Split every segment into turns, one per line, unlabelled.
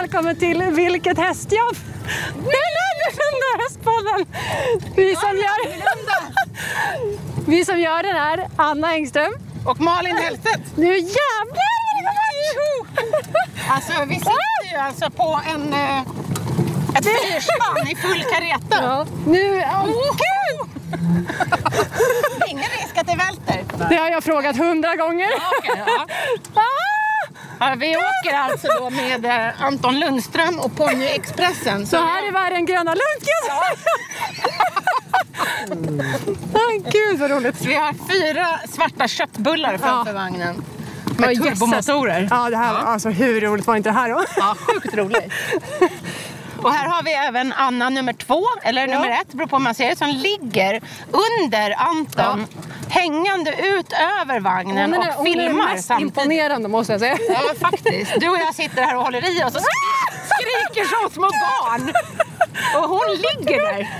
eller vilket hästjobb? Det är Lönnerlunda Hästpodden! Vi som, gör, vi som gör den är Anna Engström.
Och Malin Hellstedt.
Nu jävlar vad det går fort!
Alltså vi sitter ju alltså på en... eh, Ett fyrspann i full kareta.
Ja, nu, åh, gud!
Ingen risk att det välter.
Det har jag frågat hundra gånger. Ah!
Ja, vi åker alltså då med eh, Anton Lundström och Pony Expressen.
Så här är värre än Gröna Lund kan jag säga. Ah, Gud vad roligt.
Vi har fyra svarta köttbullar framför vagnen. Med
Ja, jösses.
turbomotorer.
Ja, det här, alltså, hur roligt var inte det här då?
Ja, sjukt roligt. Och här har vi även Anna nummer två, eller nummer ett, beror på hur man ser det, som ligger under Anton, hängande ut över vagnen
Hon är-
och
hon är
filmar
mest
samtidigt.
imponerande måste jag säga.
Ja, faktiskt. Du och jag sitter här och håller i oss och skriker som små barn. Och hon ligger där.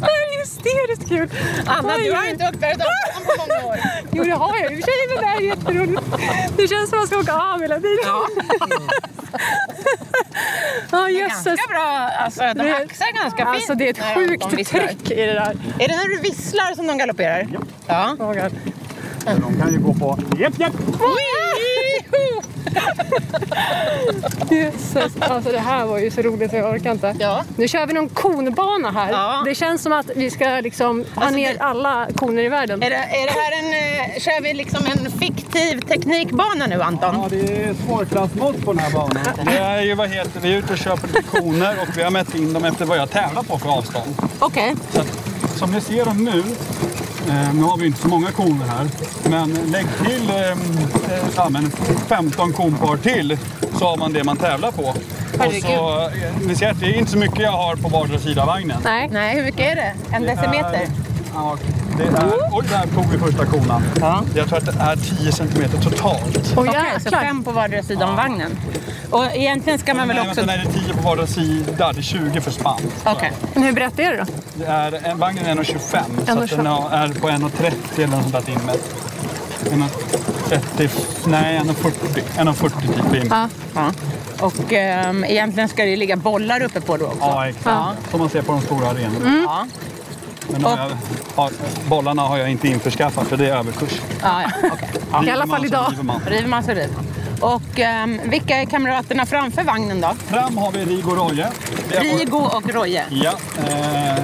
Det är hysteriskt kul.
Anna,
Oj.
du har inte åkt berg-och-dalbanan på många år.
Jo, det har jag i och för sig, men det här är jätteroligt. Det känns som att man ska åka av hela tiden. Ja, jösses.
Ganska bra, alltså de axar ganska fint.
Alltså, det är
när de
ett sjukt
visslar.
tryck i det där.
Är det när du visslar som de galopperar? Ja.
Oh my God.
Så de kan ju gå på... Japp, japp!
Jösses. Alltså, det här var ju så roligt så jag orkar inte.
Ja.
Nu kör vi någon konbana här.
Ja.
Det känns som att vi ska liksom ha
Alltså,
ner
det-
alla koner i världen.
Är det, är det här en, eh, kör vi liksom en fiktiv teknikbana nu Anton?
Ja, det är svårklassmått på den här banan. Det är ju, vad heter vi är ute och köper lite koner och vi har mätt in dem efter vad jag tävlar på för avstånd.
Okej.
Så att, som ni ser dem nu, eh, nu har vi inte så många koner här, men lägg till eh, eh, ja, men 15 konpar till så har man det man tävlar på. Och så, eh, ni ser att det är inte så mycket jag har på vardera sida av vagnen. Eh,
Nej.
Nej, hur mycket är det? En decimeter?
Ja, det är, oj, där tog vi första konan. Jag tror att det är 10 centimeter totalt.
Oj,
Okej, så
jäklar.
fem på vardera sida om vagnen. Och egentligen ska man
Nej,
väl
vänta,
också...
nej, det är 10 på vardera sida. Det är 20 för spann.
Okej.
Men hur brett är det då?
Det är, en, vagnen är 1,25 så att den har- är på 1,30 eller något sånt där timmet. 1,30, nej 1,40. 1,40 typ i
Ja.
Ja. Och ehm, egentligen ska det ligga bollar uppe på då också. Mm.
Ja, exakt. Som man ser på de stora arenorna.
Ja.
Men de har jag, har, bollarna har jag inte införskaffat för det är överkurs.
Ja, ja. okej.
River
alla
man
fall
så
idag.
river man.
River man så river man. Och ehm, vilka är kamraterna framför vagnen då?
Fram har vi Rigo Roje. Det är vår-
Rigo och Roje,
Ja, eh,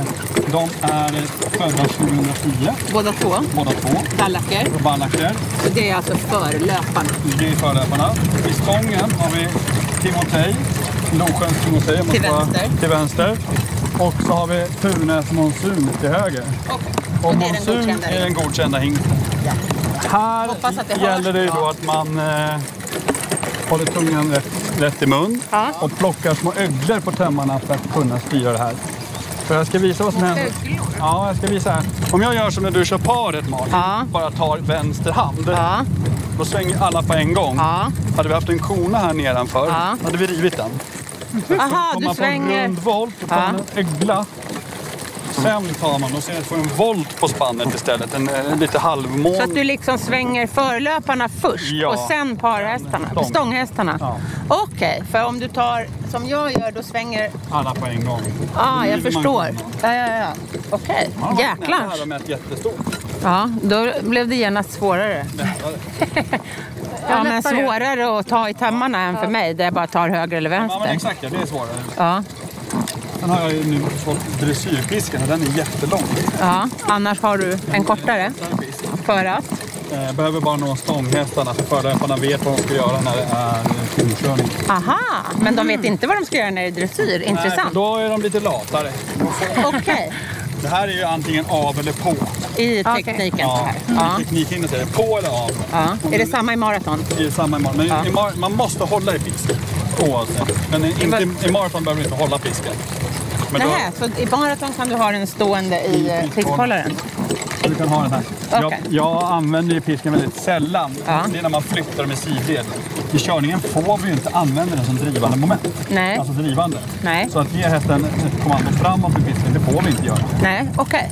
de är födda 2010
båda två.
båda två.
Kallacker.
Ballacker.
Det är alltså förlöparna.
ligger i förlöparna. I stången har vi Timotej, Losjöns Timotej om man
Till
ska-
vänster.
till vänster. Och så har vi Tunes Monsun till höger. Och,
Och det är den
Monsun
godkända
är den godkända hingsten. Här
Hoppas att det
gäller
hörs
det ju
bra.
då att man eh, håller tungan rätt, rätt i mun
Ja.
och plockar små öglor på tömmarna för att kunna styra det här. För jag ska visa vad som händer. Ja, jag ska visa här. Om jag gör som när du kör paret Malin,
Ja.
bara tar vänster hand.
Ja,
Då svänger alla på en gång.
ja.
Hade vi haft en kona här nedanför
Ja.
hade vi rivit den.
Aha,
Om
du
man får en
svänger.
rund volt och tar
Ja.
man en ögla. Sen tar man och sen får en volt på spannet istället. En, eh, lite halvmån.
Så att du liksom svänger förlöparna först
Ja.
och sen parhästarna,
Stång.
stånghästarna.
Ja.
Okej, för om du tar som jag gör då svänger...
Alla på en gång.
Ja, ah,
Då
jag
river man
förstår.
konan.
Ja, ja, ja. Okej,
Ja, Det
jäklar.
här var mätt jättestort.
Ja, då blev det genast svårare. Ja, men
lättare.
svårare att ta i tömmarna än för mig där jag bara tar höger eller
Ja, men
vänster.
exakt ja, det är svårare.
Ja,
Sen har jag ju nu fått dressyrfisken och den är jättelång.
ja. Annars har du en kortare
Fisk.
för att.
Eh, Behöver bara nå stånghästarna för förlöparna vet vad de ska göra när det är filmkörning.
Aha, men de vet inte vad de ska göra när det är dressyr.
Mm. Nej, för
Intressant.
Då är de lite latare.
Okej,
Det här är ju antingen av eller på.
i
Okej.
tekniken så
Ja,
här.
ja.
Ja.
tekniken säger på eller av.
Ja. Är det samma i maraton?
I samma i maraton. Men i-
Ja.
i mar- man måste hålla i fisk oavsett. Men i- inte, i maraton behöver du inte hålla fisken. Men då,
Nähä, så i maraton kan du ha den stående i eh, fiskhållaren?
du kan ha den här.
Okej.
Jag, jag använder ju fisken väldigt sällan.
Ja.
Det är när man flyttar dem i sidled. I körningen får vi ju inte använda den som drivande moment.
Nej.
Alltså drivande.
Nej.
Så att ge hästen ett kommando framåt med fisken, det får vi inte göra.
Nej, okej.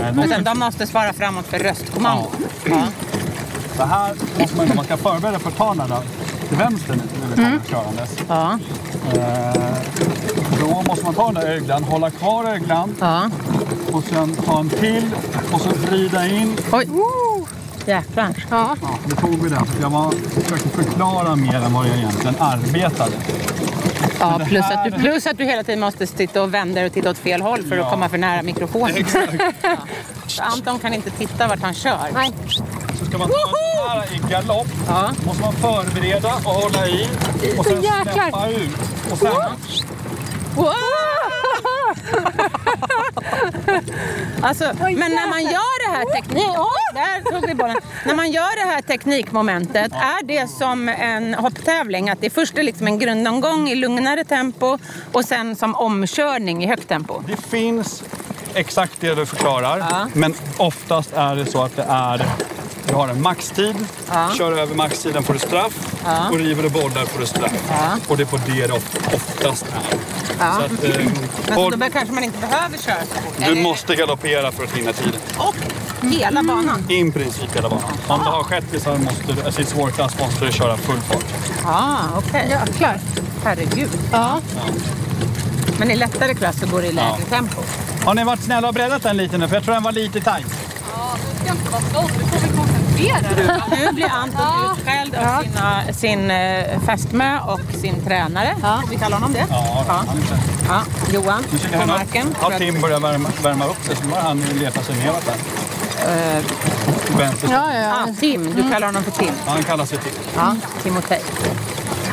Eh, de-
Utan de måste svara framåt för röstkommando? Ja.
Det här måste man, man ska förbereda för att ta den här till vänster nu när vi kommer körandes.
Ja,
Eh, då måste man ta den där öglan, hålla kvar öglan
ja.
och sen ta en till och så vrida in.
Oj! Jäklar.
Ja.
Ja, det tog vi den. för Jag var, försökte förklara mer än vad jag egentligen arbetade.
Ja,
det
plus,
här-
att du, plus att du hela tiden måste sitta och vända dig och titta åt fel håll för att
Ja.
komma för nära mikrofonen. Så Anton kan inte titta vart han kör.
Nej.
Så ska man ta den här i galopp.
Ja.
måste man förbereda och hålla i och sen
Jäklar.
släppa ut. Och sen,
Wow!
Alltså,
Oj,
men när man
jävlar.
gör det här teknik... Oj, där tog vi bollen. När man gör det här teknikmomentet, är det som en hopptävling? Att det först är liksom en grundomgång i lugnare tempo och sen som omkörning i högt tempo?
det finns exakt det du förklarar,
Ja.
men oftast är det så att det är du har en maxtid,
Ja.
kör över maxtiden får du straff
Ja.
och river du bollar får du straff.
Ja.
Och det är på det det of- oftast är.
Ja.
Så att, eh,
Men
och
då bör- kanske man inte behöver köra så fort.
du
Eller-
måste galoppera för att hinna tiden.
Och hela banan.
I princip hela banan. Om du har shettisar måste du, alltså i svårklass måste du köra full fart.
Ja, Ah, okej.
Jäklar.
Herregud.
Ja.
Men i lättare klass så går det i lägre
Ja.
tempo.
Har ni varit snälla och breddat den lite nu? För jag tror den var lite tajt.
Ja, du ska inte vara stolt. Du får väl koncentrera dig.
Nu blir Anton utskälld av sina, sin eh, fästmö och sin tränare.
Ja.
Får vi kalla honom det?
Ja,
Ja.
han är inte-
Ja, Johan
Nu försöker
på
han
marken.
ha Tim börjar värma, värma upp sig, så börjar han leta sig neråt där. Vänster.
Eh. Ja, ja.
Ah, Tim, du kallar honom för Tim.
Han kallar sig Tim.
Ja, Timotej.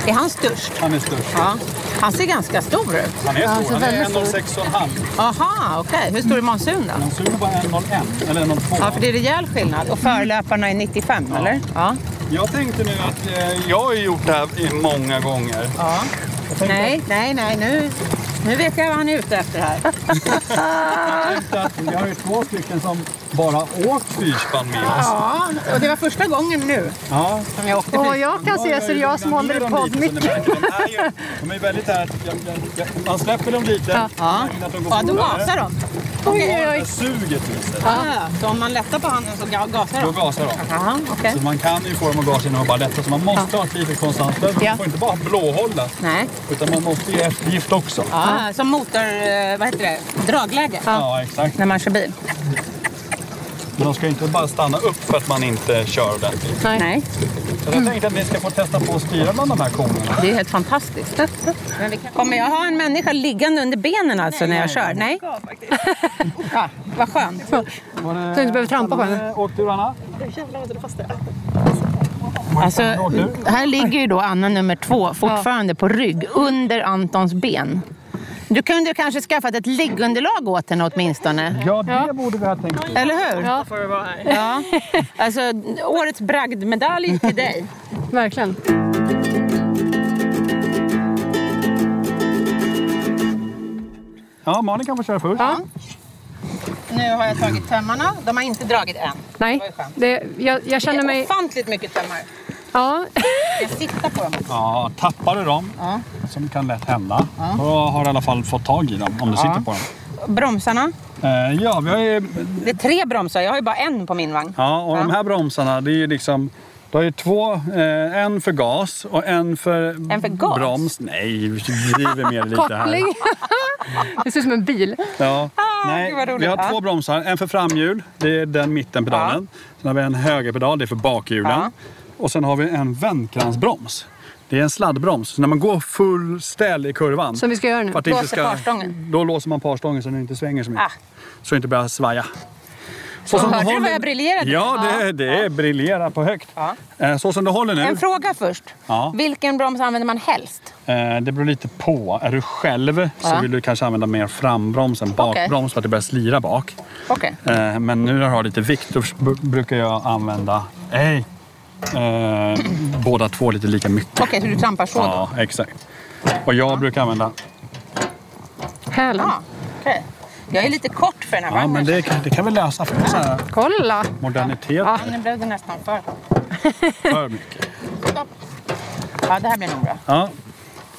Är han störst?
Han är störst.
Ja. Han ser ganska stor ut.
Han är
han
stor.
ser
Han är
väldigt stor.
1,06,5.
Aha, okej. Hur stor är monsun då?
Han suger bara 1,01 eller 1,02.
Ja, för det är rejäl skillnad. Och förlöparna är 95, eller? Ja.
Jag tänkte nu att eh, jag har ju gjort det här i många gånger.
ja. Nej, nej, nej. Nu, nu vet jag vad han är ute efter här.
Jag tänkte att vi har ju två stycken som bara åkt fyrspann med oss.
Ja, och det var första gången nu
Ja.
som jag åkte
Och
bil.
jag kan se så det är jag som håller i
poddmicken.
poddmicken.
De är ju väldigt här, att jag- jag- jag- man släpper dem lite.
Ja,
märker att de går
ja då
fortare.
gasar de.
Oj, oj,
Det
oj.
Suget i sig.
Ja. Så om man lättar på handen så ga- gasar
Då
de?
gasar de.
Jaha, okej.
Så man kan ju få dem att gasa genom att bara lätta. Så man måste ha ett litet konstant stöd. Man
Ja.
får inte bara blåhålla.
Nej.
Utan man måste ge eftergift också. Ja,
Ja, som motor... eh, Vad heter det? Dragläge.
exakt.
När man kör bil.
Men de ska ju inte bara stanna upp för att man inte kör ordentligt.
Nej.
Nej,
Så
Mm.
jag tänkte att ni ska få testa på att styra bland de här konerna.
det är helt fantastiskt. Men vi kan... Kommer jag ha en människa liggande under benen alltså när jag kör? Nej. Ja, vad skönt.
Så du inte behöver trampa på henne.
Eh, Åkte du Anna?
Alltså, här ligger ju då Anna nummer två fortfarande på rygg under Antons ben. Du kunde kanske skaffat ett liggunderlag åt henne åtminstone.
Ja, det borde vi ha tänkt på.
Eller hur?
Ja.
Ja. Alltså, årets bragdmedalj till dig.
Verkligen.
Ja, Malin kan få köra först.
Ja.
Nu har jag tagit tömmarna. De har inte dragit än.
Nej. Det, jag, jag
Det
känner
är
mig...
ofantligt mycket tömmar.
Ja.
Jag sitter på dem.
Ja, tappar du dem,
Ja.
som kan lätt hända, då har du i alla fall fått tag i dem om du sitter på dem.
Bromsarna.
Eh, Ja, vi har ju
Det är tre bromsar. Jag har ju bara en på min vagn.
Ja, och de
Ja.
här bromsarna, det är ju liksom... Du har ju två, eh, en för gas och en för,
En för gas?
broms. Nej, vi driver med det lite här.
Koppling. Det ser ut som en bil.
Ja.
Ah, gud vad
Nej,
roligt.
vi har
Ja.
två bromsar. En för framhjul, det är den mittenpedalen. Sen har vi en högerpedal, det är för bakhjulen.
Ja.
Och sen har vi en vändkransbroms. Det är en sladdbroms. Så när man går full ställ i kurvan.
Som vi ska göra nu.
för att det inte
Låser parstången.
Då låser man parstången så den inte svänger så mycket.
Ah.
Så det inte börjar svaja. Så som
hörde du
håller-
vad jag briljerade?
Ja, det, det är briljera på högt.
Ja.
Eh, Så som du håller nu,
En fråga först.
Ja.
Vilken broms använder man helst?
eh, det beror lite på. Är du själv
Ja.
så vill du kanske använda mer frambroms än bakbroms för att det börjar slira bak.
Okej.
Eh, Men nu när jag har lite vikt då br- brukar jag använda nej, eh, båda två lite lika mycket.
Okej, så du trampar så då?
Ja, exakt. Och jag brukar använda...
Hälen.
Ja, Ah, okej. Jag är lite kort för den här
Ja,
vagnen.
men det, kan- det kan vi lösa. För det är så här
Kolla!
modernitet
Ja, Ah, nu blev det nästan för.
för mycket.
Ja, det här blir nog bra.
Ja.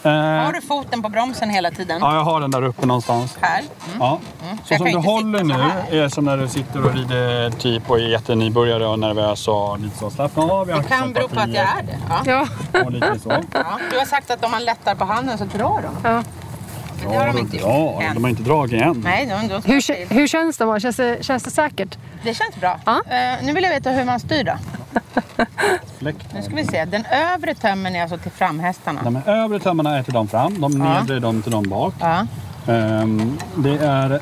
Eh,
Har du foten på bromsen hela tiden?
Ja, jag har den där uppe någonstans.
Här.
Ja. Så
Mm. jag
som
kan
du
inte
håller
sitta så
nu
här.
är som när du sitter och rider typ och är jättenybörjare och nervös och lite så. Slappna av i
Det kan bero på att jag är det. Ja.
Ja.
är Och lite så.
Ja. Du har sagt att om man lättar på handen så drar de.
Ja.
Men det har de inte gjort
ja,
än.
de har inte dragit än.
Nej, de, de
Hur, kä- hur känns det? man? Känns det, känns det säkert?
det känns bra.
Ja.
Eh, nu vill jag veta hur man styr då.
Fläkt.
Nu ska vi se. Den övre tömmen är alltså till framhästarna.
De övre tömmarna är till dem fram, de
Ja.
nedre är de till dem bak.
Ja.
Ehm, det är...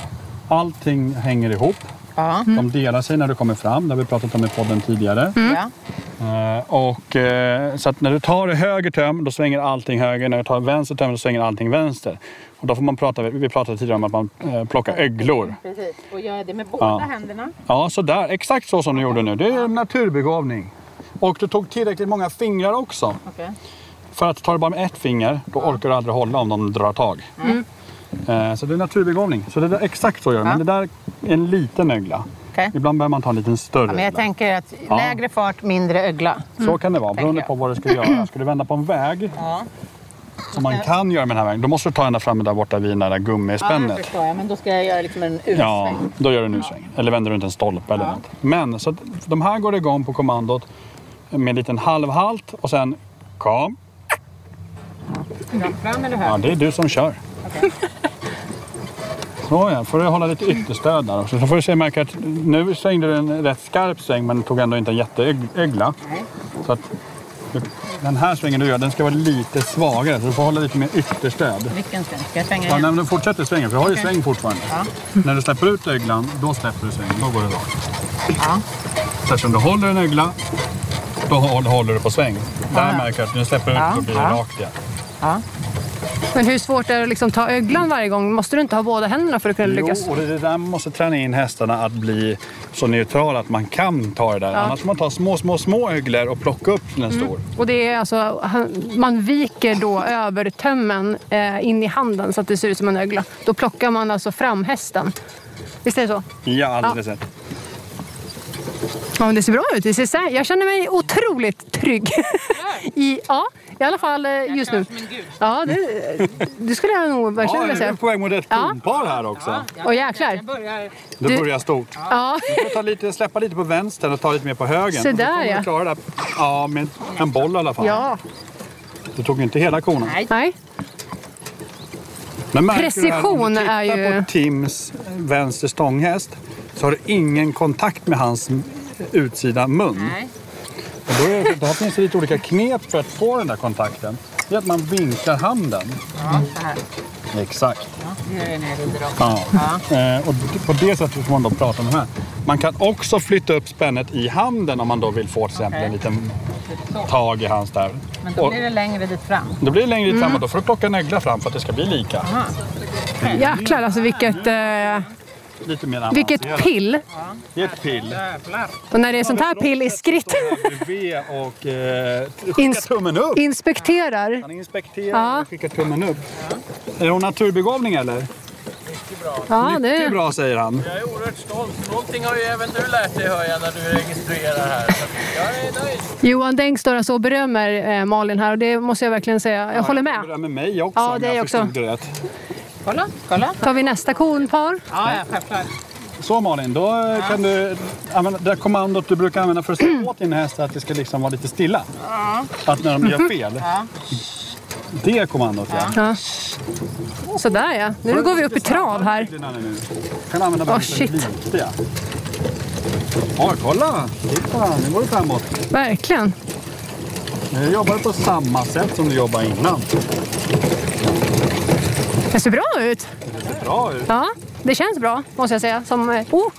Allting hänger ihop.
Ja.
De delar sig när du kommer fram, det har vi pratat om i podden tidigare.
ja.
Eh, Och, eh, så att när du tar höger töm, då svänger allting höger. När du tar vänster töm, då svänger allting vänster. Och då får man prata, vi pratade tidigare om att man eh, plockar öglor.
Precis. Och gör det med båda
Ja.
händerna.
Ja, sådär. Exakt så som du gjorde nu. Det är en naturbegåvning. Och du tog tillräckligt många fingrar också.
Okej.
För att tar du bara med ett finger, då orkar du aldrig hålla om de drar tag. Eh, Så det är naturbegåvning. Så det där, exakt så gör du. Men
Mm. Ja.
det där är en liten ögla.
Okej.
Ibland behöver man ta en liten större.
Ja, men jag
ögla.
tänker att
Ja.
lägre fart, mindre ögla.
Så kan det vara, beroende
jag.
på vad du ska göra. Ska du vända på en väg,
Ja,
som man kan göra med den här vägen, då måste du ta ända fram där borta vid den där
ja det
gummispännet.
förstår jag. Men då ska jag göra liksom en utsväng.
Ja, då gör du en U-sväng. Eller vänder runt en stolpe eller något. Men så att de här går igång på kommandot med en liten halvhalt och sen kom.
Rakt fram eller höger?
Ja, det är du som kör. Nåja, får du hålla lite ytterstöd där också. Så får du se, märka att nu svängde du en rätt skarp sväng men tog ändå inte en jätteögla.
Nej.
Så att den här svängen du gör, den ska vara lite svagare så du får hålla lite mer ytterstöd.
Vilken sväng? Ska jag svänga
Ja,
igen?
nej, men du fortsätter svänga, för jag har ju
Okej.
sväng fortfarande.
Ja.
När du släpper ut öglan, då släpper du svängen. Då går det rakt.
Ja.
Så eftersom du håller en ögla, då håll- håller du på sväng. Där märker jag att när du släpper ut,
Ja,
då blir det
ja.
rakt igen.
Ja.
Men hur svårt är det att liksom ta öglan varje gång? Måste du inte ha båda händerna för att kunna lyckas?
Jo, och det är där man måste träna in hästarna att bli så neutrala att man kan ta det där. Annars får man ta små, små, små öglor och plocka upp till en stor.
Och det är alltså, han- man viker då övertömmen eh, in i handen så att det ser ut som en ögla. Då plockar man alltså fram hästen. Visst är det så?
Ja, alldeles rätt.
Ja, men det ser bra ut. Det ser sä- jag känner mig otroligt trygg. I, ja, I alla fall eh, just nu. Ja, det, det skulle jag nog verkligen vilja
Ja, nu är
säga.
vi på väg mot ett
Ja.
kronpar här också.
Åh jäklar.
Jag börjar.
Det
Du-
börjar stort.
Ja.
Du får ta lite, släppa lite på vänstern och ta lite mer på höger.
Se där,
ja.
ja.
Klara det här. Ja, med en boll i alla fall.
ja.
Du tog ju inte hela konan.
Nej.
Nej.
Men märker du här, om
Precision
du tittar
är ju-
på Tims eh, vänster stånghäst så har du ingen kontakt med hans utsida mun.
Nej.
Och då är, det här finns det lite olika knep för att få den där kontakten. Det är att man vinklar handen.
Ja, så här.
Exakt.
Ja, det gör jag när jag rider också.
Ja. Eh, och d- på det sättet får man då prata med den här. Man kan också flytta upp spännet i handen om man då vill få till exempel en
Okej.
liten
Typ så.
tag i hans där.
Men
Och-
då blir det Mm. längre dit fram.
Då blir det längre dit fram och då får du plocka en ögla fram för att det ska bli lika.
Jäklar alltså vilket, eh,
Lite mer avancerat.
vilket pill.
Det är ett pill.
Jävlar.
Och när det är sånt här pill i skritt.
V och eh, skicka
Ins-
tummen upp.
Inspekterar.
Han inspekterar
Ja. Eh.
och skickar tummen upp. Är hon naturbegåvning eller?
Ja,
Det är
det,
bra säger han.
Jag är oerhört stolt. Någonting har ju även du lärt dig hör jag när du registrerar här. Så Jag är nöjd.
Johan Denk står alltså och berömmer eh, Malin här och det måste jag verkligen säga. Jag håller
Det
med.
där med mig också.
Ja,
om
det
jag
är också.
förstod det rätt.
Kolla, kolla.
Tar vi nästa konpar?
Ja, ja, självklart.
Så Malin, då eh, kan du använda det där kommandot du brukar använda för att säga åt din häst att det ska liksom vara lite stilla. Att när de gör fel. Det kommandot ja.
Ja. Sådär ja. Nu går vi upp i trav här.
Dina nu. kan använda bara
Åh,
lite
shit.
lite. Ja, kolla! Titta, nu går det framåt.
Verkligen.
Nu jobbar du på samma sätt som du jobbade innan.
Det ser bra ut.
Det ser bra ut.
Ja, det känns bra måste jag säga. Som, eh, oh,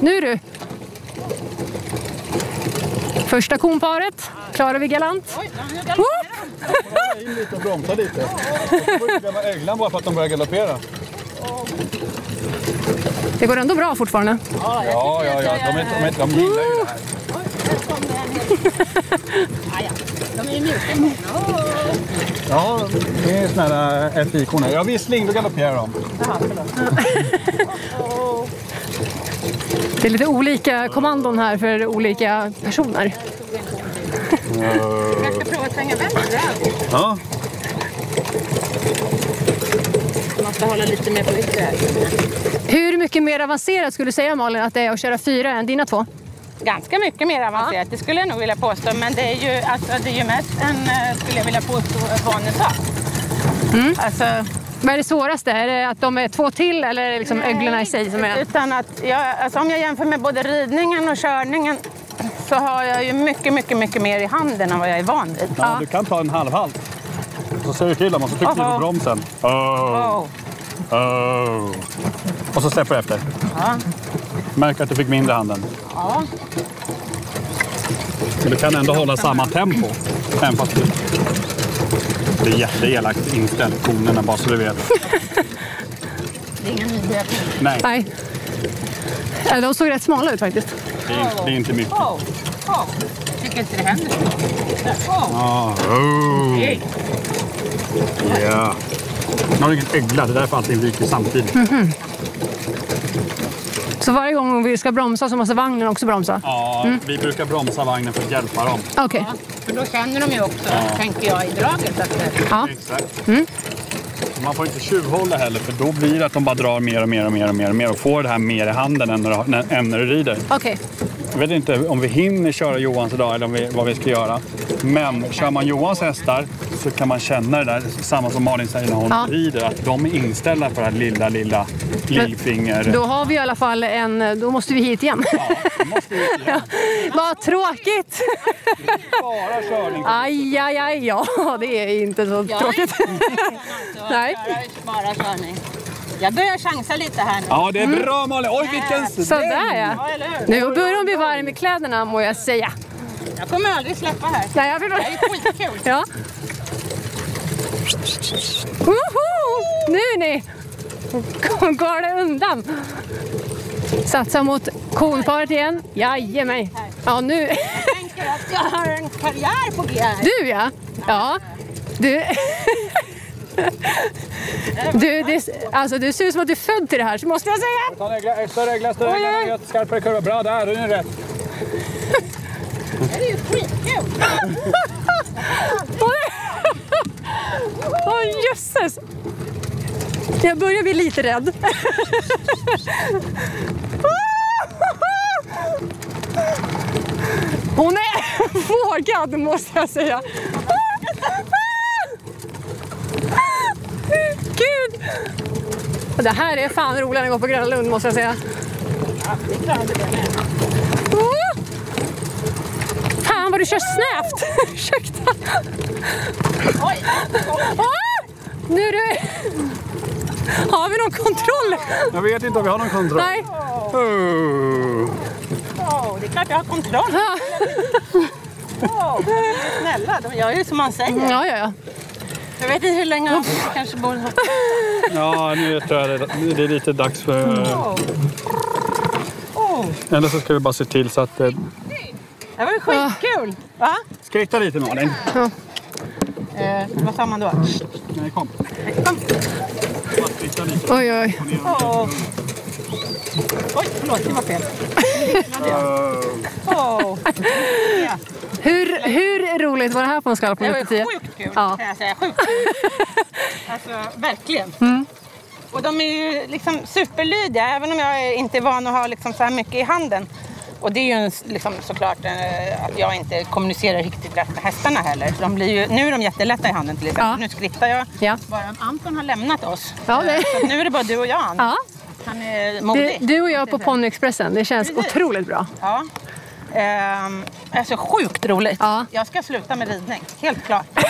nu du! Första konparet klarar vi galant. Woop!
Ta in lite och bromsa lite. Du får inte glömma öglan bara för att de börjar galoppera.
Det går ändå bra fortfarande.
Ja, ja, ja. De, är, de, är, de gillar ju det här. Ja, det är såna här FI-korna. Ja, vissling, då galopperar de.
Det är lite olika kommandon här för olika personer.
Jag ska prova att svänga vänster.
Ja.
måste hålla lite mer på yttre här.
Hur mycket mer avancerat skulle du säga Malin att det är att köra fyra än dina två?
Ganska mycket mer avancerat, det skulle jag nog vilja påstå. Men det är ju, alltså, det är ju mest en, eh, skulle jag vilja påstå, vanesak. Mm. Alltså,
Vad är det svåraste? Är det att de är två till eller är det liksom öglorna i sig som är...
utan att jag, alltså, om jag jämför med både ridningen och körningen så har jag ju mycket, mycket, mycket mer i handen än vad jag är van vid.
Ja, Du kan ta en halvhalt. Så säger du till dem och så trycker du
Aha.
på bromsen. Oh,
Wow.
oh. Och så släpper du efter.
Ja.
Märker att du fick mindre i handen.
Ja.
Men du kan ändå hålla samma tempo. Även fast du... Det är jätteelakt inställt, konerna, bara så du vet.
Det är ingen nyhet.
Nej,
Nej. Ja, De såg rätt smala ut faktiskt.
det är, inte- det är inte mycket.
Wow. Wow. Jag tycker inte det händer så mycket. Wow.
Ah, oh. Ja. Nu har du ingen ögla, det är därför allting viker samtidigt.
Så varje gång vi ska bromsa så måste vagnen också bromsa?
Ja, vi brukar bromsa vagnen för att hjälpa dem.
Okej.
För då känner de ju också, tänker jag, i draget att det...
Ja. Mm.
Exakt. Man får inte tjuvhålla heller för då blir det att de bara drar mer och mer och mer och mer och, mer och får det här mer i handen än när, du har- när- än när du rider.
Okej.
Jag vet inte om vi hinner köra Johans idag eller om vi, vad vi ska göra. Men kör man Johans hästar så kan man känna det där, samma som Malin säger när hon
Ja.
rider, att de är inställda på det här lilla, lilla lillfinger...
Då har vi i alla fall en... Då måste vi hit igen.
Ja, det måste vi inte göra.
Vad tråkigt!
Bara körning.
Aj, aj, aj. Ja, det är inte så tråkigt. Nej.
Bara körning. Jag börjar chansa lite här nu.
Ja, det är bra Malin! Oj,
Äh,
vilken...
Sådär ja.
eller hur?
Nu börjar hon bli varm i kläderna må jag säga.
Jag kommer aldrig släppa här.
Nej, jag förstår.
Det är skitkul.
Ja. Woho! Nu ni! Kom- Går det undan? Satsa mot konparet igen. Jajamän. Ja, nu.
Jag tänker att jag har en karriär på G här.
Du ja. Ja. Du. Du, det, alltså, du ser ut som att du är född till det här, så måste jag säga.
Ta en ögla, Större ögla, större
Oj, oj.
ögla, skarpare kurva. Bra, där, nu är det rätt.
Det är ju skitkul.
Åh jösses! Jag börjar bli lite rädd. Hon är vågad måste jag säga. Gud! Det här är fan roligare än att gå på Gröna Lund måste jag säga. Åh! Fan vad du kör snävt! Ursäkta.
Oj,
Ah! Nu är det... Har vi någon kontroll?
Jag vet inte om vi har någon kontroll.
Nej.
Oh.
wow, det är klart jag har kontroll.
Ja,
Wow. Snälla, de gör ju som man säger.
ja, ja.
Jag vet inte hur länge de kanske borde ha...
Ja, nu tror jag det, nu är det är lite dags för...
Oh,
Eller så ska vi bara se till så att... eh,
det var ju skitkul. Va?
Skritta lite Malin.
Eh, vad sa man då?
Nej, kom. Bara Skritta lite.
Oj, oj.
Åh. Oj, förlåt, det var fel. Åh,
Hur, hur roligt var det här på en skala från
Det var
1 till
ju
10?
sjukt kul
Ja.
kan jag säga. Sjukt kul. Alltså, verkligen. Och de är ju liksom superlydiga, även om jag inte är van att ha liksom så här mycket i handen. Och det är ju en, liksom, såklart eh, att jag inte kommunicerar riktigt rätt med hästarna heller. För De blir ju, nu är de jättelätta i handen till exempel.
Ja.
Nu skrittar jag.
Ja.
Bara Anton har lämnat oss.
Ja, det-
Eh, Så att nu är det bara du och jag. Anton.
Ja,
Han är
det,
modig.
du och jag på Ponyexpressen. Det känns
Precis.
otroligt bra.
Ja. Ehm, alltså sjukt roligt.
Ja.
Jag ska sluta med ridning, helt klart.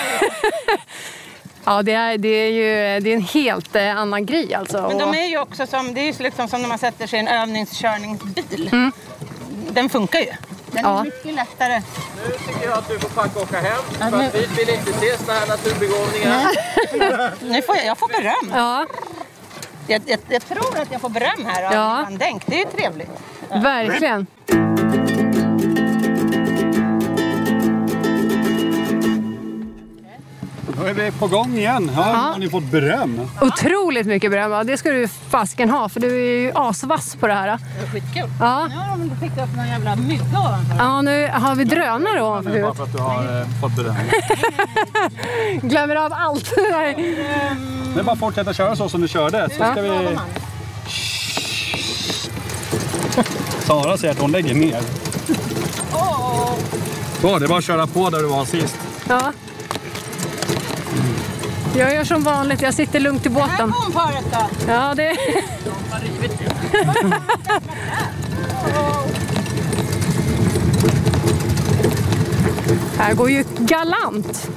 Ja, det är, det är ju det är en helt eh, annan grej alltså.
Men de
Och-
är ju också som, det är ju liksom som när man sätter sig i en övningskörningsbil. Den funkar ju. Den
Mm. Ja.
är mycket lättare.
Nu tycker jag att du får packa och åka hem. För att vi vill inte se såna här naturbegåvningar.
Nu får jag, jag får beröm.
Ja,
Jag, jag, jag tror att jag får beröm här av
Ja.
Johan Denk. Det är ju trevligt.
verkligen.
Då är vi på gång igen. Ja,
Ja.
Har ni fått beröm?
Otroligt mycket beröm. Ja, Det ska du fasken ha, för du är ju asvass på det här.
Det var skitkul.
Ja,
Nu har de skickat upp någon jävla mygga ovanför.
ja nu har vi drönare ovanför huvudet.
för att du har eh, fått beröm.
Glömmer av allt. Nej.
Nu är bara att fortsätta köra så som du körde. Så
Ja.
ska vi... Sara säger att hon lägger ner. Så, det är bara att köra på där du var sist.
Ja. Jag gör som vanligt, jag sitter lugnt i båten.
bomparet då?
Ja, det... Här går ju galant.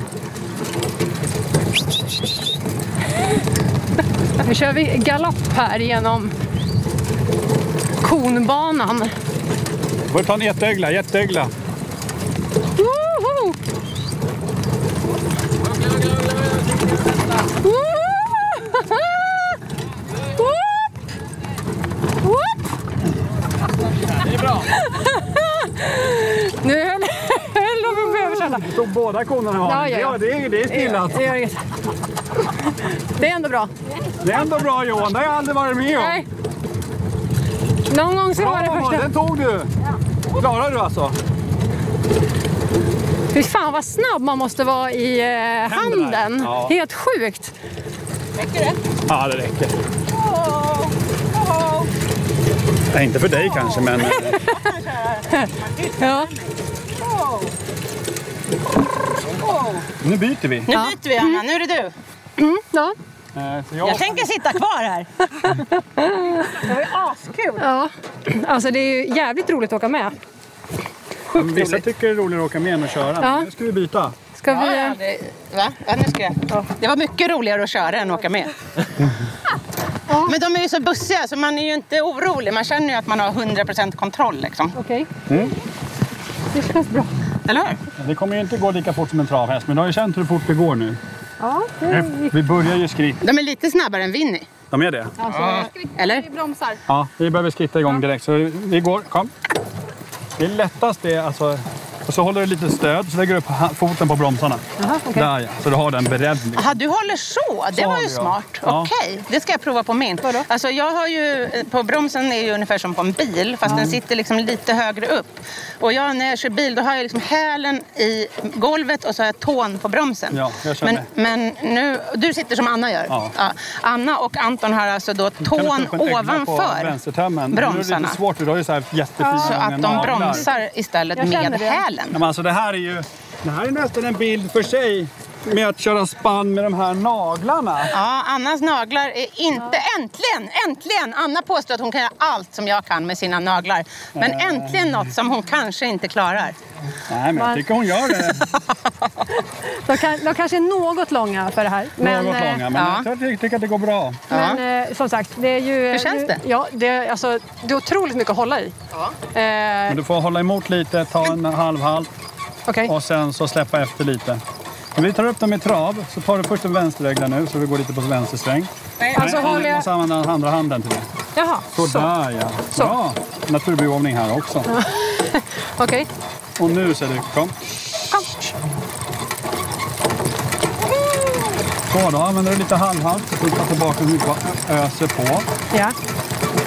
Nu kör vi galopp här genom konbanan.
Får du ta en jätteögla, jätteögla.
Woho! Woho! Woop! Woop! Nu höll höll de på att bli översköljda.
Så båda konerna har
Ja, ja, ja.
det, är, det är stillat.
Det gör inget. Det är ändå bra.
Det är ändå bra Johan, det har jag aldrig varit med om.
Nej. Någon gång ska det vara det
Ja,
första.
den tog du! Klarar du alltså?
Fy fan vad snabb man måste vara i eh,
Händerna.
handen.
Ja.
Helt sjukt.
Ja, det räcker. Nej, inte för dig kanske, men... eh,
Ja.
Nu byter vi.
Nu byter vi Anna, nu är det du.
Mm, ja.
Eh, Så
Jag tänker sitta kvar här. Det var ju askul.
ja. Alltså det är ju jävligt roligt att åka med.
Mm, Vissa tycker det är roligare att åka med än att köra.
Ja.
Nu ska vi byta.
Ska
Ja,
vi...
ja, det, va? Ja, nu ska jag. det var mycket roligare att köra än att åka med. Men de är ju så bussiga så man är ju inte orolig. Man känner ju att man har 100% kontroll liksom.
Okej.
Mm.
Det känns bra.
Eller hur?
Det kommer ju inte gå lika fort som en travhäst, men du har ju känt hur fort det går nu.
Ja, det gick.
Vi börjar ju skritt.
De är lite snabbare än Winnie.
De är det?
Alltså,
Eller?
Vi bromsar.
Ja, vi behöver skritta igång direkt. Så vi går, kom. Det är lättast det, alltså. Och så håller du lite stöd, så lägger du upp ha- foten på bromsarna.
aha, okej.
Där ja, så du har den beredd. liksom.
Jaha, du håller så. Det
Så
var
håller
ju
jag.
smart.
Ja.
Okej, det ska jag prova på min.
Vadå?
Alltså jag har ju, på bromsen är ju ungefär som på en bil fast den sitter liksom lite högre upp. Och jag, när jag kör bil då har jag liksom hälen i golvet och så har jag tån på bromsen.
Ja, jag
men,
känner.
men nu, du sitter som Anna gör.
Ja.
Anna och Anton har alltså då
Kan du ta
tån
upp en ögla På
ovanför
vänstertömmen. Nu är det
bromsarna.
lite svårt, för du har ju så här jättefina
så att de
naglar.
bromsar istället
Jag känner
med
det.
hälen.
Ja, men alltså det här är ju det här är nästan en bild för sig med att köra spann med de här naglarna.
Ja, Annas naglar är inte... Äntligen! Äntligen! Anna påstår att hon kan göra allt som jag kan med sina naglar. Men
Äh.
äntligen något som hon kanske inte klarar.
Nej, men jag tycker hon gör det.
De, kan, de kanske är något långa för det här. Men,
Något
eh,
långa, men
ja.
jag tycker- tycker att det går bra.
men eh, som sagt, det är ju... Hur
känns det?
Ja, det, alltså, det är otroligt mycket att hålla i. Ja. Eh,
Men du får hålla emot lite, ta en halv halt
Okej.
och sen så släppa efter lite. Men vi tar upp dem i trav, så tar du först en vänsterögla nu så vi går lite på vänster sväng.
Alltså
Nej,
håller
Och
jag...
så använder den andra handen till det.
Jaha, så.
Sådär ja. Bra! Naturbegåvning här också.
Okej.
Och nu ser du, kom.
Kom.
Så, då använder du lite halvhalt. Så får du ta tillbaka hur mycket öser på.
Ja.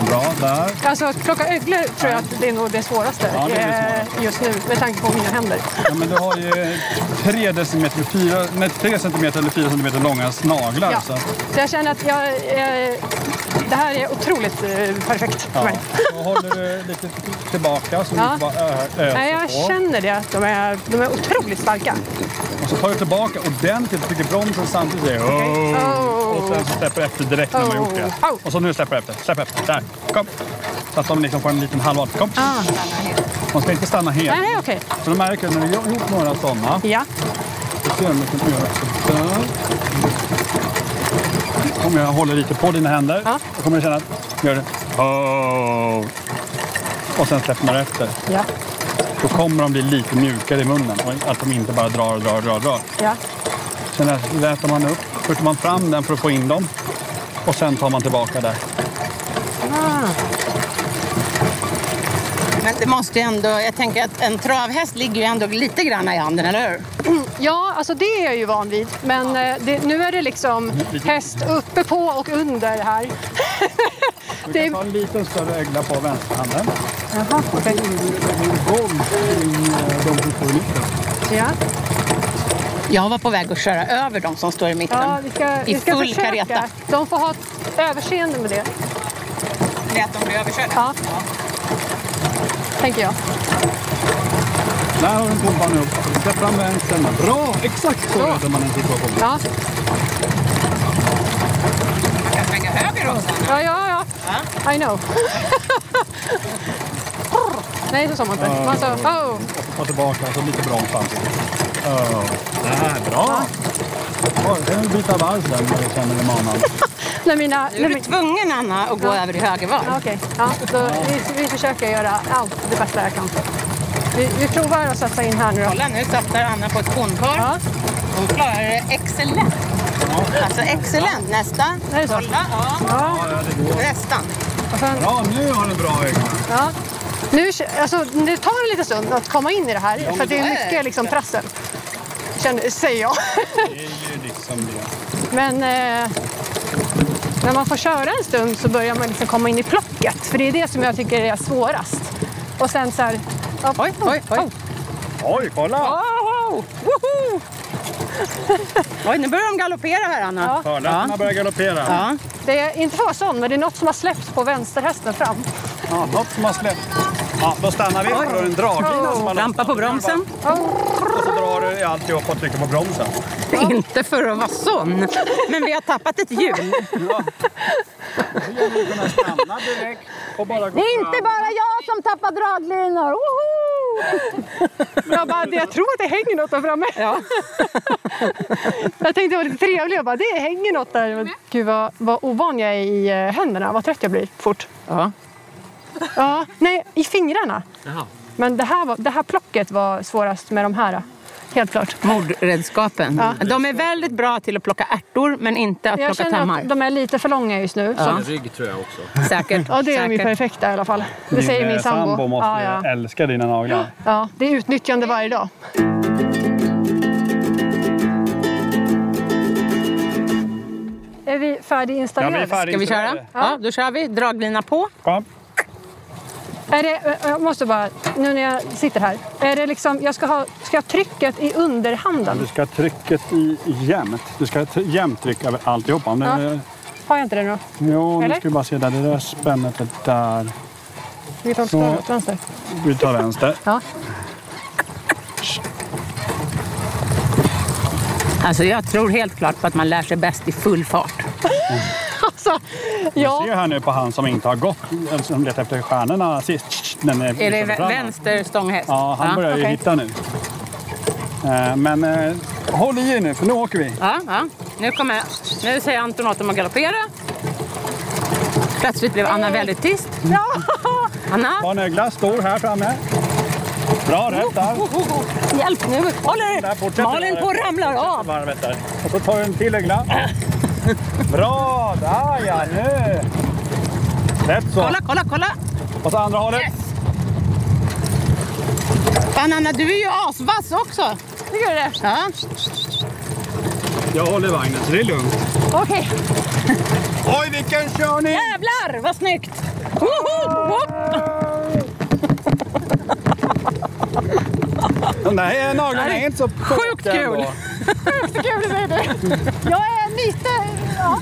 Bra, där.
Alltså att plocka öglor tror jag att det är nog det svåraste
Ja, det är det
eh, just nu med tanke på mina händer.
Ja, men du har ju 3 decimeter, fyra, nej, tre centimeter eller 4 centimeter långa snaglar.
Ja.
Så.
Så jag känner att jag... Eh, det här är otroligt eh, perfekt för
Ja.
mig.
Då håller du lite tillbaka så du
Ja.
inte bara ö- öser
Nej, jag
på.
känner det. att De är, de är otroligt starka.
Och så tar du tillbaka ordentligt och trycker bromsen samtidigt. säger
Oh.
Oh. Och sen så släpper du efter direkt när man har gjort det.
Oh. Oh.
Och så nu släpper du efter. Släpp efter. Där. Kom. Så att de liksom får en liten halvhalt. Kom.
Ah.
De ska inte stanna helt.
Nej, okej.
Så de märker när du har gjort några sådana.
Ja.
Då ser de liksom göra sådär. Om jag håller lite på dina händer.
Ja.
Då kommer jag känna att gör det. Oh. Och sen släpper man efter.
Ja.
Då kommer de bli lite mjukare i munnen. Och Att de inte bara drar och drar och drar. och drar.
Ja.
Sen äter man upp. Först tar man fram den för att få in dem. Och sen tar man tillbaka där.
Ah.
Men det måste ju ändå... Jag tänker att en travhäst ligger ju ändå lite grann i handen, eller hur?
Ja, alltså det är jag ju van vid. Men eh, det, nu är det liksom häst uppe på och under här.
Du
Det-
kan ta en liten större ögla på vänsterhanden.
Jaha, okej.
Det går golv kring eh, de som står i mitten.
Ja.
Jag var på väg att köra över de som står i mitten.
Ja, vi ska, vi ska
full
försöka.
kareta.
De får ha ett överseende med det,
Det är att de blir överkörda.
Ja. tänker jag.
Där har du pumpan upp. Släpp fram vänstern. Bra! Exakt så löser man en situation.
Ja,
Jag kan svänga höger också.
ja, ja. ja. I know. Nej, så sa man inte. Man sa oh.
Och tillbaka, så lite bra samtidigt. Oh. Där, bra! Oj, Kan du byta varv sen när du känner dig manad?
När mina...
Nu
När
är du
min,
tvungen, Anna, att gå över i höger var.
ja, okej. Ja, då, vi, vi försöker göra allt det bästa jag kan. Vi, vi provar att satsa in här nu då.
Kolla, nu satsar Anna på ett kornpar.
Ja,
Hon klarar det excellent. Alltså excellent. Nästa.
det är så.
Kolla, ja.
Ja,
Ja, det går.
Nästan.
och sen,
Bra, nu har du en bra ögla.
ja. Nu, kö- alltså, det tar en liten stund att komma in i det här för att det är mycket liksom, trassel. Känner, säger jag.
Det är ju liksom det.
Men eh, när man får köra en stund så börjar man liksom komma in i plocket. För det är det som jag tycker är svårast. Och sen så här... ja,
Oj, oj, oj.
Oj, kolla!
Wow! Woho! Oj, nu börjar de galoppera här, Anna.
Hörlöpparna börjar galoppera. Ja.
Ja.
Det är inte för att vara sån, men det är något som har släppts på vänsterhästen fram.
något som har släppt. Ja, då stannar vi. Då är det en draglina som har
Trampa på bromsen.
Och så drar du i alltihop och trycker på bromsen.
Inte för att vara sån, men vi har tappat ett hjul.
Ja. Då gäller det att kunna stanna direkt och bara gå fram.
bara jag som tappar draglinor!
Jag, bara, jag tror att det hänger något där framme.
Ja.
Jag tänkte det var lite trevligt. Jag bara, det hänger något där. Men Gud vad, vad ovan jag är i eh, händerna. Vad trött jag blir fort.
Ja.
Ja, nej, i fingrarna.
Jaha.
Men det här, var, det här plocket var svårast med de här. eh, Helt klart.
Mordredskapen. De är väldigt bra till att plocka ärtor, men inte att
Jag
plocka
känner
tammar.
att de är lite för långa just nu. Så
En rygg tror jag också.
Säkert.
Ja, det är de ju
säkert.
perfekta i alla fall. Det säger min eh, sambo.
eh, måste
ja, ja.
älska dina naglar.
ja, det är utnyttjande varje dag. Är vi färdiginstallerade?
Ska vi köra? Ja, då kör vi. Draglina på.
Ja.
Är det, jag måste bara, nu när jag sitter här. Är det liksom, jag ska, ha, ska jag ha trycket i
Du
underhanden?
ska ha trycket i jämnt. Du ska ha ett jämnt tryck över alltihopa. Om det
Ja.
är,
Har jag inte det nu då?
jo, nu
Eller?
ska vi bara se där. Det där spännet är där.
Vi tar
Så.
åt vänster.
Vi tar vänster.
Ja.
Alltså, jag tror helt klart på att man lär sig bäst i full fart.
Alltså,
Se
ja.
här nu på han som inte har gått, som letar efter stjärnorna sist. Den är,
Är det
fram här.
vä- vänster stånghäst?
Ja, han börjar ju
okej.
hitta nu. Eh, Men eh, håll i er nu, för nu åker vi.
Ja, ja. Nu, kommer, nu säger Anton åt dem att galoppera. Plötsligt blev Anna väldigt tyst. Anna,
Barnögla står här framme. Bra rätt där.
hjälp nu!
Där
Håller
fortsätter
Malin
det.
på att ramla av!
Varvet där. Och så tar du en till ögla. Bra, där ja, nu. Rätt så.
Kolla, kolla, kolla!
Och så andra hållet.
Fan Anna, du är ju asvass också!
Tycker du det?
Ja.
Jag håller vagnen, så det är lugnt.
Okej.
Oj, vilken körning!
Jävlar, vad snyggt! Woho! Woho!
De där naglarna är inte så
Sjukt
tjocka
kul.
ändå.
Så kul det säger du. Jag är lite... Ja,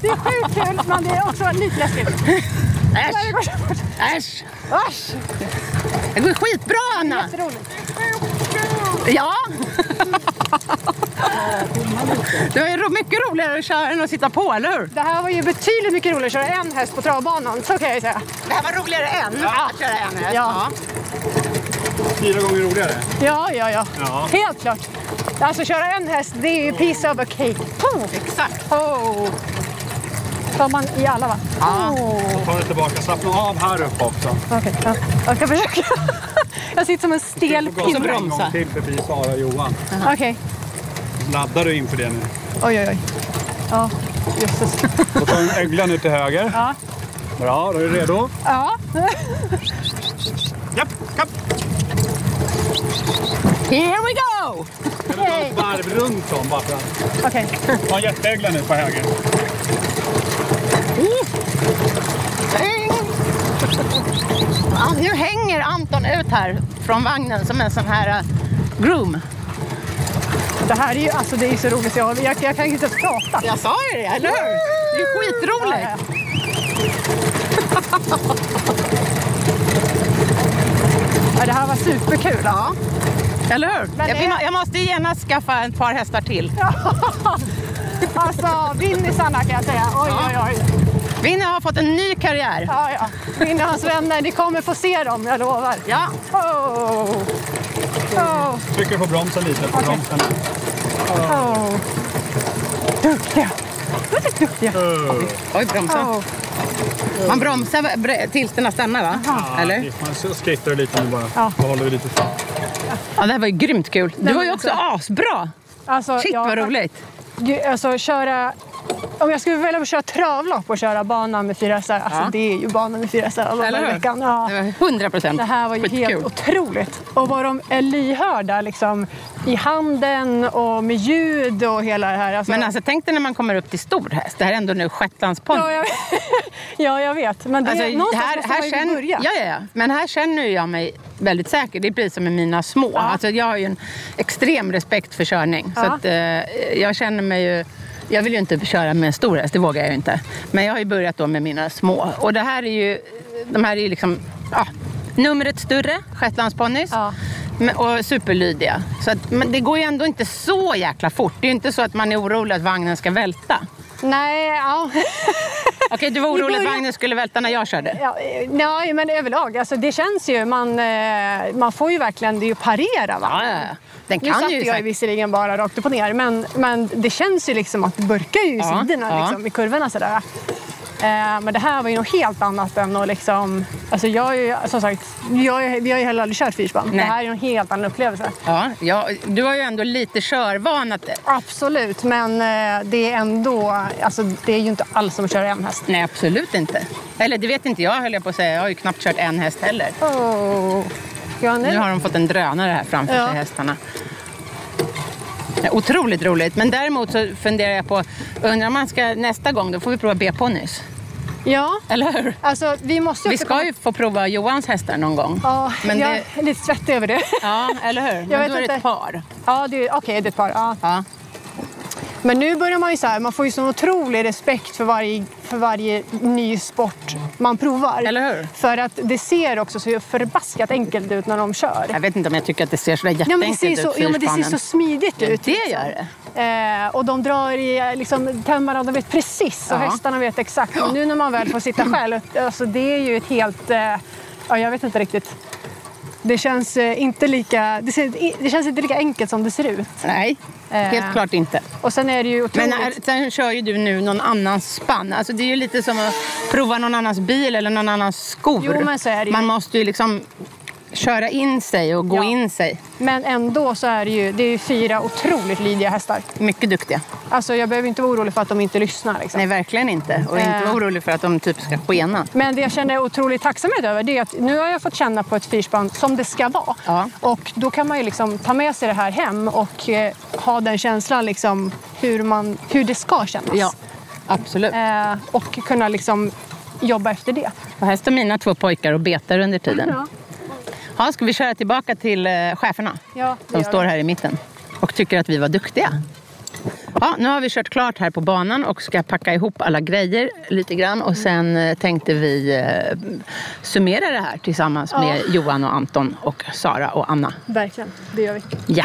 det är sjukt kul, men det är också lite läskigt.
Äsch, äsch!
Asch,
Det går skitbra Anna!
jätteroligt.
Ja! Det var ju mycket roligare att köra än att sitta på, eller hur?
Det här var ju betydligt mycket roligare att köra en häst på travbanan, så kan jag ju säga.
Det här var roligare än att köra en häst.
Ja.
Fyra gånger roligare.
Ja, ja, ja.
Ja.
Helt klart. Alltså köra en häst, det är ju piece of a cake. Puh.
Exakt.
Oh. Tar man i alla va?
Ja.
Oh.
Ta det tillbaka, slappna av här uppe också.
Okej, ja. jag ska försöka. Jag sitter som en stel
Och så
pinne.
en gång till förbi Sara och Johan.
Okej,
Laddar du inför det nu.
oj, oj, oj. Ja, jösses.
Då tar du en ögla nu till höger.
Ja.
Bra, då är du redo.
Ja,
Japp, japp.
Here we go!
Kan du ta ett varv runt dem bara för att...
Okej.
Ta jetteglen nu på höger.
Häng! Ja, Nu hänger Anton ut här från vagnen som en sån här eh, groom.
Det här är ju alltså, det är så roligt. Jag, jag, jag kan inte ens prata.
Jag sa ju det, eller hur? Det är skitroligt.
Ja, det här var superkul. Ja.
Eller hur?
Men
Jag,
det-
vi må- jag måste ju gärna skaffa ett par hästar till.
Alltså, vinnisarna kan jag säga. Oj, oj, oj.
Vinny har fått en ny karriär.
Ja, ja. Vinny och hans vänner, ni kommer få se dem, jag lovar.
Ja,
Oh. Oh.
Trycker på bromsen lite. På bromsen.
Oh. Duktiga. Väldigt duktiga.
Uh,
oj bromsa.
Oh.
Man bromsar bre- tills den har stannat va? Eller?
Man så skrittar det lite nu bara.
Ja.
Då håller vi lite fram.
Ja, det här var ju grymt kul. Du
men
var ju också asbra.
Alltså,
Shit
jag-
vad roligt.
Gud, Alltså köra... Om jag skulle välja att köra travlopp och köra banan med fyra hästar, alltså
Ja.
det är ju banan med fyra hästar alla dagar
Eller
i
hur?
veckan. Ja.
Det var 100 procent.
Det här var ju helt otroligt. Och vad de är lyhörda liksom, i handen och med ljud och hela det här. Alltså,
Men alltså tänk dig när man kommer upp till stor häst. Det här är ändå nu shetlandsponny.
ja, jag, ja, jag vet. Men det,
Alltså,
någonstans måste man ju
känner-
börja.
ja, ja, ja. Men här känner ju jag mig väldigt säker. Det blir som med mina små. Alltså, jag har ju en extrem respekt för körning. Så
Ja.
att, eh, jag känner mig ju... Jag vill ju inte köra med en stor häst, det vågar jag ju inte. Men jag har ju börjat då med mina små. Och det här är ju... De här är ju liksom... Ja, numret större, shetlandsponnys.
Ja.
Men- Och superlydiga. Så att, men det går ju ändå inte så jäkla fort. Det är ju inte så att man är orolig att vagnen ska välta.
Nej, ja.
Okej, du var
I
orolig att
början-
vagnen skulle välta när jag körde?
Ja, eh, nej, men överlag. Alltså, det känns ju. Man, eh, man får ju verkligen det är ju parera. Va?
Ja, ja, ja. Den
Mm. Nu
kan
satt
ju
jag ju
säkert...
visserligen bara rakt upp och ner, men, men det känns ju liksom att det burkar ju i
Ja,
sidorna
ja.
Liksom, i kurvorna sådär. Eh, men det här var ju något helt annat än att liksom... Alltså jag är ju, som sagt, jag, är- vi har ju heller aldrig kört fyrspann. Det
Nej.
här är ju en helt annan upplevelse.
Ja, ja, du har ju ändå lite körvana. till-
Absolut, men eh, det är ändå... Alltså det är ju inte alls som att köra en häst.
Nej, absolut inte. Eller det vet inte jag höll jag på att säga. Jag har ju knappt kört en häst heller.
Oh. Ja,
Nu
nu.
har de fått en drönare här framför
Ja.
sig, hästarna. Ja, Otroligt roligt. Men däremot så funderar jag på, undrar om man ska nästa gång, då får vi prova B-ponnys.
ja,
Eller hur?
alltså vi måste ju...
Vi
också
ska
komma-
ju få prova Johans hästar någon gång.
Ja,
Men
jag
det-
är lite svettig över det.
Ja, eller hur? Men
vet
då är det
inte.
ett par.
ja, det är- okej, det är ett par. Ja.
Ja.
Men nu börjar man ju så här, man får ju sån otrolig respekt för varje, för varje ny sport man provar.
Eller hur?
För att det ser också så förbaskat enkelt ut när de kör.
Jag vet inte om jag tycker att det ser så där
Ja, men det
jätteenkelt
ser så,
ut,
ja, men det ser så
fyrspannen.
smidigt ut. liksom.
Det gör det.
Eh, och de drar i eh, liksom, tömmarna, de vet precis
Ja.
och hästarna vet exakt. Men nu när man väl får sitta själv, alltså, det är ju ett helt... Eh, ja, jag vet inte riktigt. Det känns, eh, inte lika, det, ser, det känns inte lika enkelt som det ser ut.
Nej,
Eh.
helt klart inte.
Och sen är det ju
Men
otroligt...
är, sen kör ju du nu någon annans spann. Alltså det är ju lite som att prova någon annans bil eller någon annans skor.
Jo, men så är det ju.
Man måste ju liksom köra in sig och gå
Ja.
in sig.
Men ändå så är det ju, det är ju fyra otroligt lydiga hästar.
Mycket duktiga.
Alltså jag behöver inte vara orolig för att de inte lyssnar. Liksom.
Nej, verkligen inte. Och
Eh.
inte vara orolig för att de typ ska skena.
Men det jag känner otroligt tacksamhet över det är att nu har jag fått känna på ett fyrspann som det ska vara.
Ja.
Och då kan man ju liksom ta med sig det här hem och eh, ha den känslan liksom hur, man, hur det ska kännas.
Ja, absolut.
Eh, och kunna liksom jobba efter det.
Och här står mina två pojkar och betar under tiden. Ja. ska vi köra tillbaka till eh, cheferna?
Ja, det
De
gör
står
vi.
här i mitten och tycker att vi var duktiga. Ja, nu har vi kört klart här på banan och ska packa ihop alla grejer lite grann. Och sen eh, tänkte vi eh, summera det här tillsammans
Ja.
med Johan och Anton och Sara och Anna.
Verkligen, det gör vi.
Ja.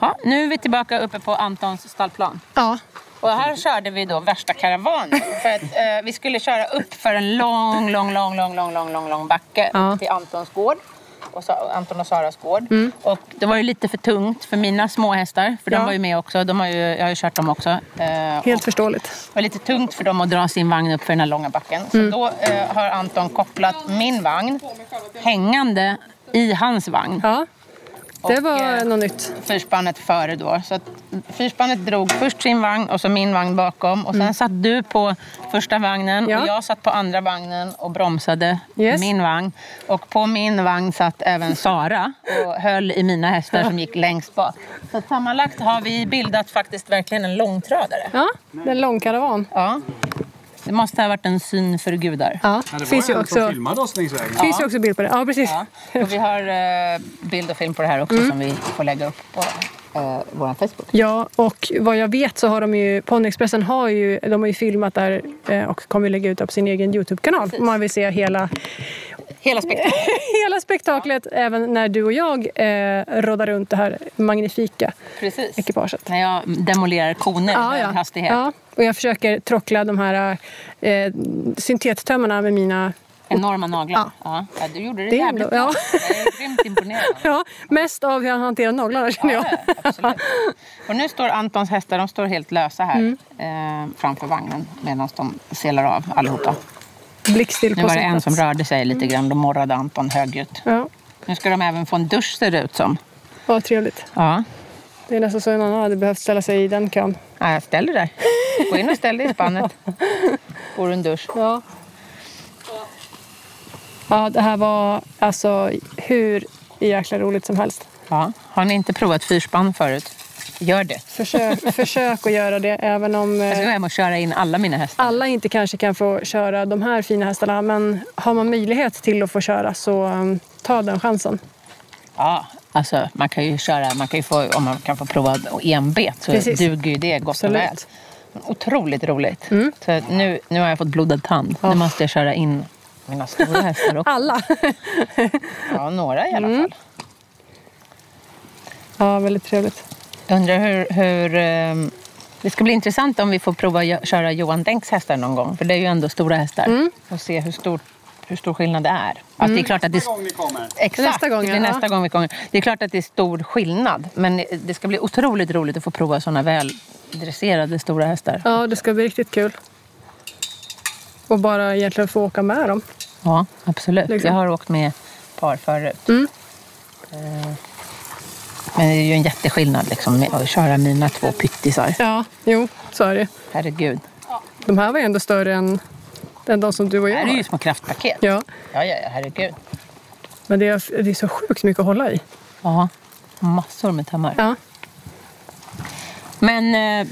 Ja, nu är vi tillbaka uppe på Antons stallplan.
Ja,
Och här körde vi då värsta karavanen. För att eh, vi skulle köra upp för en lång, lång, lång, lång, lång, lång, lång, lång backe
Ja.
till Antons gård. Och Sa- Anton och Saras gård. Och det var ju lite för tungt för mina små hästar. För
Mm. Ja.
de var ju med också. De har ju, jag har ju kört dem också. Eh,
helt förståeligt.
det var lite tungt för dem att dra sin vagn upp för den här långa backen. Så
Mm.
då eh, har Anton kopplat min vagn hängande i hans vagn.
Ja. Det
Och,
var
eh,
något nytt.
fyrspannet före då. Så att fyrspannet drog först sin vagn och så min vagn bakom. Och sen satt du på första vagnen
Mm. Ja.
och jag satt på andra vagnen och bromsade
Yes.
min vagn. Och på min vagn satt även Sara och höll i mina hästar som gick längst bak. Så att sammanlagt har vi bildat faktiskt verkligen en långtradare.
Ja, den lång karavan.
Ja. Det måste ha varit en syn för gudar.
Ja,
Ja,
det
det
var
finns ju
en som
också,
filmade oss längs vägen.
finns ju också bild på det. Ja, precis.
Ja. Och vi har eh, bild och film på det här
Mm.
också som vi får lägga upp på eh, vår Facebook.
Ja, och vad jag vet så har de ju, Ponyexpressen har ju, de har ju filmat där eh, och kommer lägga ut det på sin egen Youtube-kanal. Om man vill se hela,
Hela spektrat.
hela spektaklet, även när du och jag eh, roddar runt det här magnifika
Precis.
ekipaget.
När jag demolerar koner i hög hastighet.
ja, och jag försöker trockla de här eh, syntettömmarna med mina
Enorma naglar.
Ja.
Ja. Ja, du gjorde det,
Det är
jävligt
ändå-
bra.
ja.
Jag är grymt imponerad.
Ja, mest av hur han hanterar naglarna känner jag.
Ja, ja, absolut. Och nu står Antons hästar de står helt lösa här
Mm.
eh, framför vagnen medan de selar av allihopa.
Blickstill på
Nu var det
sin
en som
plats. Mm.
rörde sig lite grann. Då morrade Anton högljutt.
Ja,
Nu ska de även få en dusch ser det ut som.
vad trevligt.
Ja.
Det är nästan så en annan hade behövt ställa sig i den kön.
ja jag ställer där. Gå in och ställ dig i spannet. Får du en dusch.
Ja. Ja, det här var alltså hur jäkla roligt som helst.
Ja. Har ni inte provat fyrspann förut? Gör det.
Försök, försök att göra det, även om
Jag ska gå
eh,
hem och köra in alla mina hästar.
alla inte kanske kan få köra de här fina hästarna. Men har man möjlighet till att få köra så eh, ta den chansen.
Ja, alltså man kan ju köra, man kan ju få, om man kan få prova enbet så
Precis.
duger ju det gott och
Absolut. Mm.
väl. Otroligt roligt. Så att nu, nu har jag fått blodad tand. Nu måste jag köra in mina stora hästar också.
Alla!
Ja, några i alla
Mm.
fall.
Ja, väldigt trevligt.
Jag undrar hur... hur ehm, det ska bli intressant om vi får prova att gö- köra Johan Denks hästar någon gång. För det är ju ändå stora hästar.
Mm.
Och se hur stor, hur stor skillnad det är. Att det är klart att det,
Nästa gång ni kommer.
Exakt,
Nästa gång,
det blir
ja.
nästa gång vi kommer. Det är klart att det är stor skillnad, men det ska bli otroligt roligt att få prova sådana väldresserade stora hästar.
Ja, det ska bli riktigt kul. Och bara egentligen få åka med dem.
Ja, absolut.
Liksom.
Jag har åkt med par förut.
Mm.
Eh, Men det är ju en jätteskillnad liksom, med att köra mina två pyttisar.
Ja, jo, så är det.
Herregud.
De här var ju ändå större än, än de som du och
Det
jag
här är
har.
ju små kraftpaket.
Ja,
ja, ja, ja, herregud.
men det är, det är så sjukt mycket att hålla i.
Ja, massor med tömmar.
Ja,
Men eh,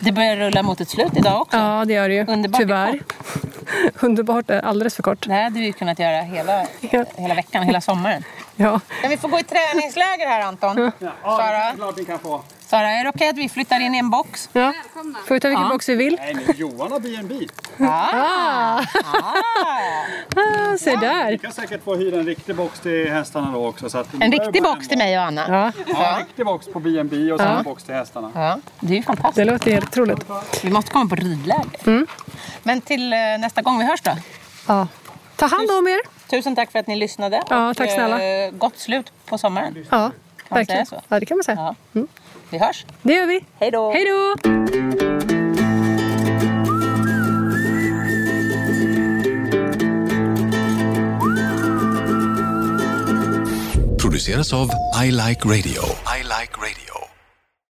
det börjar rulla mot ett slut idag också.
ja det gör det ju.
Underbart är
Tyvärr. Underbart är alldeles för kort.
Det här hade vi ju kunnat göra hela,
Ja.
hela veckan, hela sommaren.
Ja.
Men vi får gå i träningsläger här Anton.
Ja,
Sara?
det är klart ni kan få.
Sara, är det okej att vi flyttar in i en box?
ja.
Välkomna.
Får vi ta vilken
Ja.
box vi vill?
Nej, men Johan har B&B.
Ah, se
Ni
där!
kan säkert få hyra en riktig box till hästarna då också. Så att
En riktig box till mig och Anna.
Ja,
Ja, en riktig box på B&B och sen
Ja.
en box till hästarna.
Ja, det är ju fantastiskt.
det låter helt otroligt.
Vi måste komma på ridläger.
Mm.
Men till eh, nästa gång vi hörs då.
Ja. Ta hand om er!
Tusen tack för att ni lyssnade.
Ja,
och,
tack snälla. Mm.
eh, Gott slut på sommaren.
Ja,
man
verkligen.
säga så?
Ja, det kan man säga.
Ja. Vi hörs.
Det gör vi.
Hej då.
Hej då!
produceras av I Like Radio. I like radio.